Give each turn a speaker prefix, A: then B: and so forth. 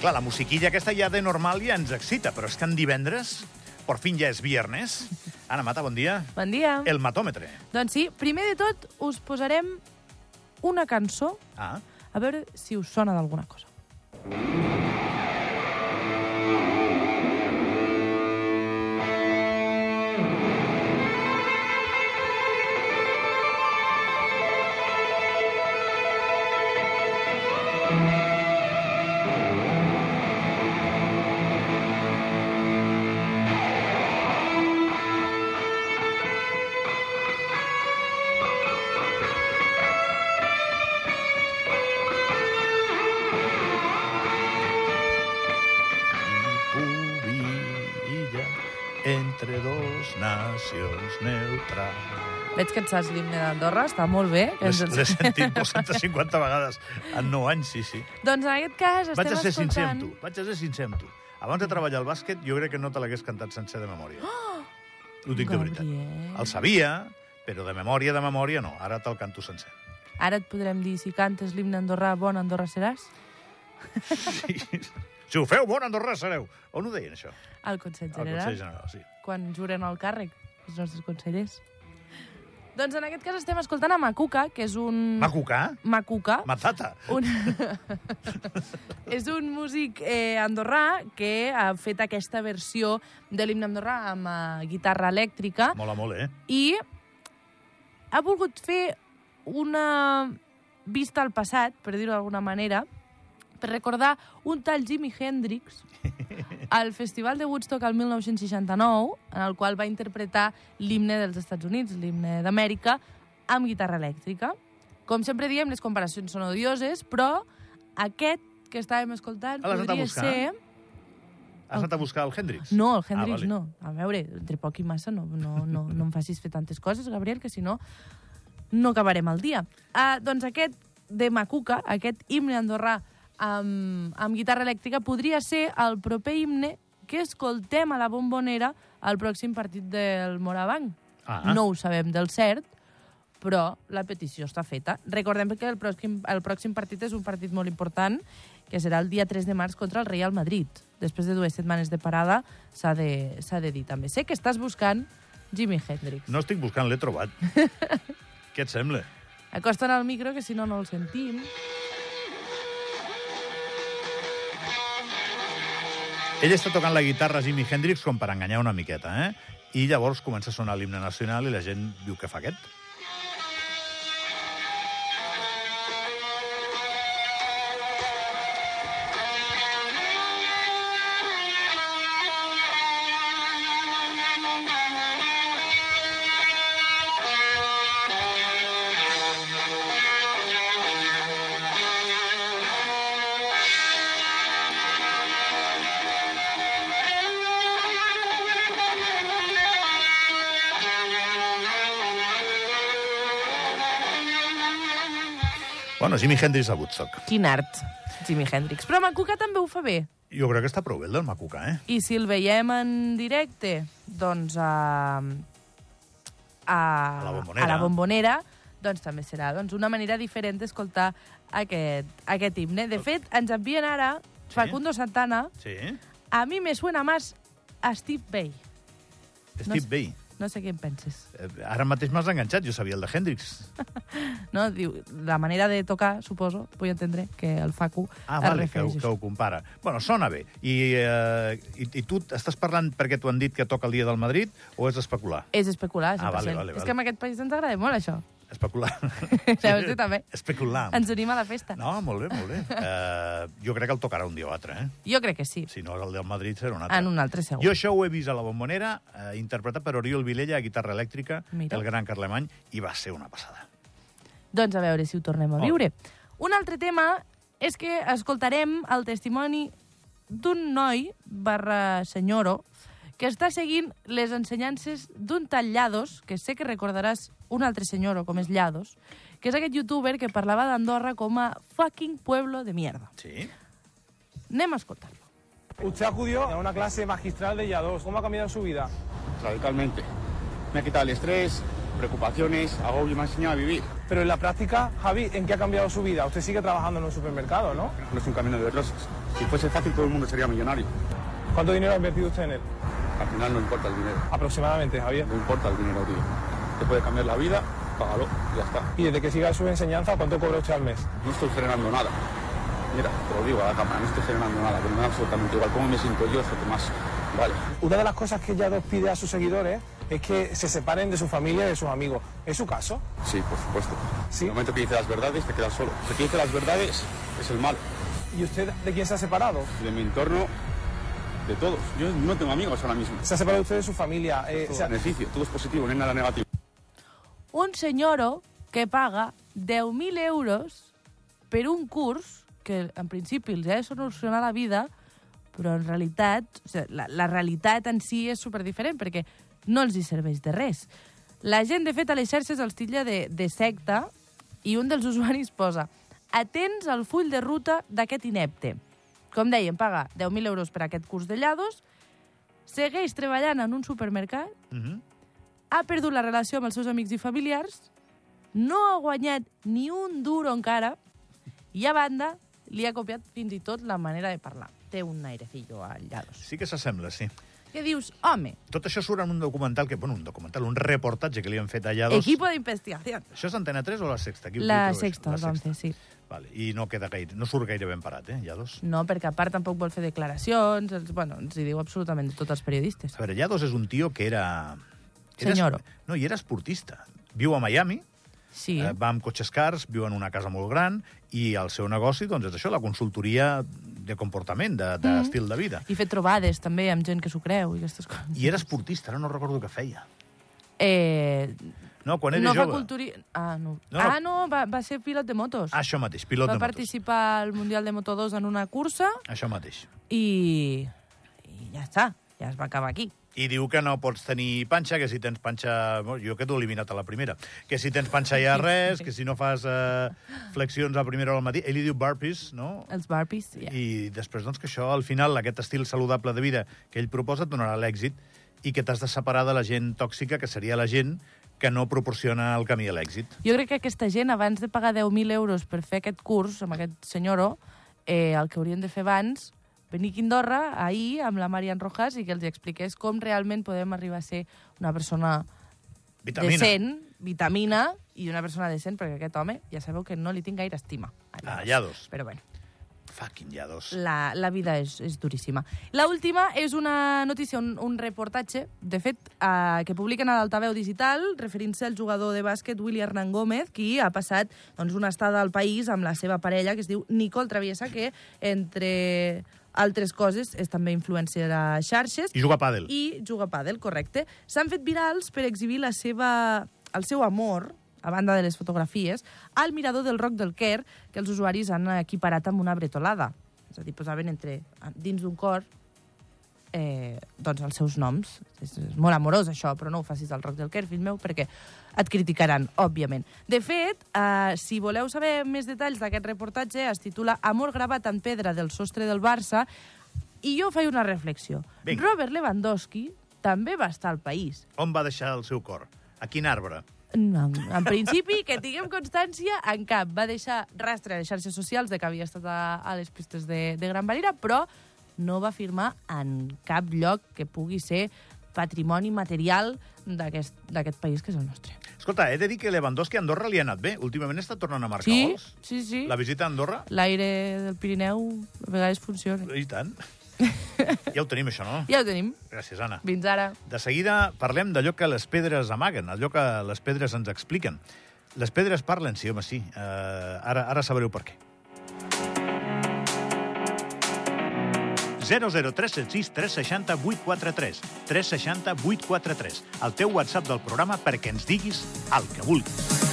A: Clar, la musiquilla aquesta ja de normal ja ens excita, però és que en divendres, per fin ja és viernes. Anna Mata, bon dia.
B: Bon dia.
A: El matòmetre.
B: Doncs sí, primer de tot us posarem una cançó
A: Ah,
B: a veure si us sona d'alguna cosa.
A: pubilla entre dos nacions neutrals.
B: Veig que et saps l'himne d'Andorra, està molt bé. que ens-
A: L'he sentit 250 vegades en 9 anys, sí, sí.
B: Doncs en aquest cas estem
A: Vaig a ser sincer
B: escoltant...
A: amb tu, vaig a ser sincer amb tu. Abans de treballar al bàsquet, jo crec que no te l'hagués cantat sencer de memòria. Oh! Ho dic de veritat.
B: Gabriel.
A: El sabia, però de memòria, de memòria, no. Ara te'l canto sencer.
B: Ara et podrem dir si cantes l'himne andorrà, bon Andorra seràs?
A: Sí. Si ho feu, bon Andorra sereu. On ho deien, això?
B: Al Consell
A: Al
B: General,
A: Consell General, sí.
B: quan juren el càrrec, els nostres consellers. Doncs en aquest cas estem escoltant a Macuca, que és un...
A: Macucà?
B: Macuca.
A: Matata?
B: Un... és un músic eh, andorrà que ha fet aquesta versió de l'himne andorrà amb eh, guitarra elèctrica
A: Mola molt, eh?
B: i ha volgut fer una vista al passat, per dir-ho d'alguna manera, per recordar un tal Jimi Hendrix al Festival de Woodstock al 1969, en el qual va interpretar l'himne dels Estats Units, l'himne d'Amèrica, amb guitarra elèctrica. Com sempre diem, les comparacions són odioses, però aquest que estàvem escoltant
A: Ah, l'has anat a
B: podria
A: buscar?
B: ser...
A: Has anat a buscar el Hendrix? Ah,
B: No, el Hendrix
A: vale.
B: no. A veure, entre poc i massa no, no, no, no em facis fer tantes coses, Gabriel, que si no, no acabarem el dia. Ah, doncs aquest de Macuca, aquest himne andorrà amb, amb guitarra elèctrica, podria ser el proper himne que escoltem a la bombonera al pròxim partit del Morabanc.
A: Ah.
B: No ho sabem del cert, però la petició està feta. Recordem que el pròxim, el pròxim partit és un partit molt important, que serà el dia 3 de març contra el Real Madrid. Després de dues setmanes de parada s'ha de, s'ha de dir també. Sé que estàs buscant Jimi Hendrix.
A: No estic buscant, l'he trobat. Què et sembla?
B: Acosta'n al micro, que si no, no el sentim.
A: Ell està tocant la guitarra Jimi Hendrix com per enganyar una miqueta, eh? I llavors comença a sonar l'himne nacional i la gent diu, què fa aquest? Bueno, Jimi Hendrix a Woodstock.
B: Quin art, Jimi Hendrix. Però Macuca també ho fa bé.
A: Jo crec que està prou bé el del Macuca, eh?
B: I si el veiem en directe, doncs a... A,
A: A la Bombonera.
B: A la bombonera doncs també serà doncs, una manera diferent d'escoltar aquest, aquest himne. De fet, ens envien ara
A: Sí?
B: Facundo Santana,
A: Sí.
B: a mi me suena más a Steve Bay.
A: Steve
B: sé.
A: Bay.
B: No sé què en penses.
A: Eh, Ara mateix m'has enganxat, jo sabia el de Hendrix.
B: No? Diu, la manera de tocar, suposo, vull entendre que el Facu
A: Ah,
B: es
A: vale, que,
B: refereix
A: ho-
B: a això.
A: que ho compara. Bueno, sona bé. I, eh, i, i tu estàs parlant perquè t'ho han dit que toca el dia del Madrid o és especular?
B: És especular, 100%.
A: Ah, vale, vale,
B: És
A: vale.
B: que en aquest país ens agrada molt això.
A: Especular.
B: Ja ho sé, també.
A: Especular.
B: Ens unim a la festa.
A: Ah, No, molt bé, molt bé. Uh, jo crec que el tocarà un dia o altre, eh?
B: Jo crec que sí.
A: Si no és el del Madrid, serà un altre.
B: En un altre segon.
A: Jo això ho he vist a la Bombonera, eh, interpretat per Oriol Vilella a guitarra elèctrica,
B: Mira.
A: el gran Carlemany, i va ser una passada.
B: Doncs a veure si ho tornem a
A: Oh.
B: viure. Un altre tema és que escoltarem el testimoni d'un noi barra senyoro que està seguint les ensenyances d'un tal Llados, que sé que recordaràs un altre senyor, o com és Llados, que és aquest youtuber que parlava d'Andorra com a fucking pueblo de mierda.
A: Sí?
B: Anem a escoltar-lo.
C: Usted acudió a una clase magistral de YA2. ¿Cómo ha cambiado su vida?
D: radicalmente. Me ha quitado el estrés, preocupaciones, agobio, me ha enseñado a vivir.
C: Pero en la práctica, Javi, ¿en qué ha cambiado su vida? Usted sigue trabajando en un supermercado, ¿no?
D: No es un camino de rosas. Si fuese fácil, todo el mundo sería millonario.
C: ¿Cuánto dinero ha invertido usted en él?
D: Al final no importa el dinero.
C: Aproximadamente, Javier.
D: No importa el dinero, tío. Te puede cambiar la vida, págalo, ya está.
C: Y desde que siga su enseñanza, ¿cuánto cobra usted al mes?
D: No estoy generando nada. Mira, te lo digo a la cámara, no estoy generando nada, pero me da absolutamente igual. ¿Cómo me siento yo es lo que más vale?
C: Una de las cosas que YA2 pide a sus seguidores es que se separen de su familia y de sus amigos. ¿Es su caso?
D: Sí, por supuesto.
C: Sí.
D: En el momento que dices las verdades, te quedas solo. Si te dice las verdades, es el malo.
C: ¿Y usted de quién se ha separado?
D: De mi entorno, de todos. Yo no tengo amigos ahora mismo.
C: Se ha separado usted de su familia. eh,
D: Todo
C: se ha-
D: beneficio, todo es positivo, no hay nada negativo.
B: un senyoro que paga 10.000 euros per un curs que en principi els ha de solucionar la vida, però en realitat, o sigui, la, la realitat en si és superdiferent perquè no els hi serveix de res. La gent, de fet, a les xarxes els titlla de, de secta i un dels usuaris posa atents al full de ruta d'aquest inepte. Com dèiem, paga 10.000 euros per aquest curs de llados, segueix treballant en un supermercat
A: Mm -hmm.
B: ha perdut la relació amb els seus amics i familiars, no ha guanyat ni un duro encara i, a banda, li ha copiat fins i tot la manera de parlar. Té un airecillo al llados.
A: Sí que s'assembla, sí.
B: Què dius? Home,
A: Tot això surt en un documental, que, bueno, un documental, un reportatge que li han fet allà dos...
B: equipo de investigació.
A: Això és Antena 3 o la Sexta? Qui,
B: La
A: qui ho trobes?
B: sexta, el vam fer, sí.
A: Vale. I no queda gaire, no surt gaire ben parat, eh, Llados?
B: No, perquè a part tampoc vol fer declaracions, els, bueno, ens hi diu absolutament de tots els periodistes.
A: A veure, Llados és un tio que era...
B: Senyoro.
A: No, i era esportista. Viu a Miami,
B: Sí,
A: eh, va amb cotxes cars, viu en una casa molt gran, i el seu negoci, doncs, és això, la consultoria de comportament, d'estil de,
B: Mhm.
A: de, estil de vida.
B: i fer trobades també amb gent que s'ho creu i aquestes coses.
A: I era esportista, ara no recordo què feia.
B: Eh,
A: No, quan era
B: no va
A: jove.
B: culturi... Ah, no.
A: No, no.
B: Ah, no, va, va ser pilot de motos.
A: Això mateix, pilot
B: va
A: de motos.
B: participar al Mundial de Moto2 en una cursa
A: Això mateix.
B: i, i ja està, ja es va acabar aquí.
A: I diu que no pots tenir panxa, que si tens panxa... Bueno, Jo quedo eliminat a la primera. Que si tens panxa ja res, que si no fas eh, flexions a primera hora al matí... Ell li diu burpees, no?
B: Els barbies, ja. I...
A: I després, doncs, que això, al final, aquest estil saludable de vida que ell proposa et donarà l'èxit i que t'has de separar de la gent tòxica, que seria la gent que no proporciona el camí a l'èxit.
B: Jo crec que aquesta gent, abans de pagar 10.000 euros per fer aquest curs amb aquest senyoro, eh, el que haurien de fer abans, venir a Quindorra ahir amb la Marian Rojas i que els hi expliqués com realment podem arribar a ser una persona
A: Vitamina.
B: decent, vitamina, i una persona decent, perquè aquest home ja sabeu que no li tinc gaire estima.
A: Ah, Llados.
B: Però bueno.
A: Fucking ja dos.
B: la, la vida és, és duríssima. La última és una notícia, un, un reportatge, de fet, eh, que publiquen a l'Altaveu Digital, referint-se al jugador de bàsquet Willy Hernán Gómez, qui ha passat doncs, una estada al país amb la seva parella, que es diu Nicole Traviesa, que, entre altres coses, és també influencer a xarxes
A: I juga a pàdel.
B: i juga a pàdel, correcte. S'han fet virals per exhibir la seva, el seu amor, a banda de les fotografies, al mirador del Roc del Quer, que els usuaris han equiparat amb una bretolada. És a dir, posaven entre, dins d'un cor eh, doncs els seus noms. És, és molt amorós, això, però no ho facis al Roc del Quer, fill meu, perquè et criticaran, òbviament. De fet, eh, si voleu saber més detalls d'aquest reportatge, es titula Amor gravat en pedra del sostre del Barça, i jo faig una reflexió.
A: Vinga.
B: Robert Lewandowski també va estar al país.
A: On va deixar el seu cor? A quin arbre?
B: No, en, en principi, que tinguem constància, en cap va deixar rastre a les xarxes socials de que havia estat a, a les pistes de, de Gran Valira, però no va firmar en cap lloc que pugui ser patrimoni material d'aquest d'aquest país que és el nostre.
A: Escolta, he de dir que Lewandowski a Andorra li ha anat bé. Últimament està tornant a marcar
B: Sí,
A: gols.
B: sí, sí.
A: La visita a Andorra?
B: L'aire del Pirineu a vegades funciona.
A: I tant. Ja ho tenim, això, no?
B: Ja ho tenim.
A: Gràcies, Anna.
B: Fins ara.
A: De seguida parlem d'allò que les pedres amaguen, allò que les pedres ens expliquen. Les pedres parlen, sí, home, sí. Uh, ara, ara sabreu per què. 00376 360 843 360 843 el teu WhatsApp del programa perquè ens diguis el que vulguis.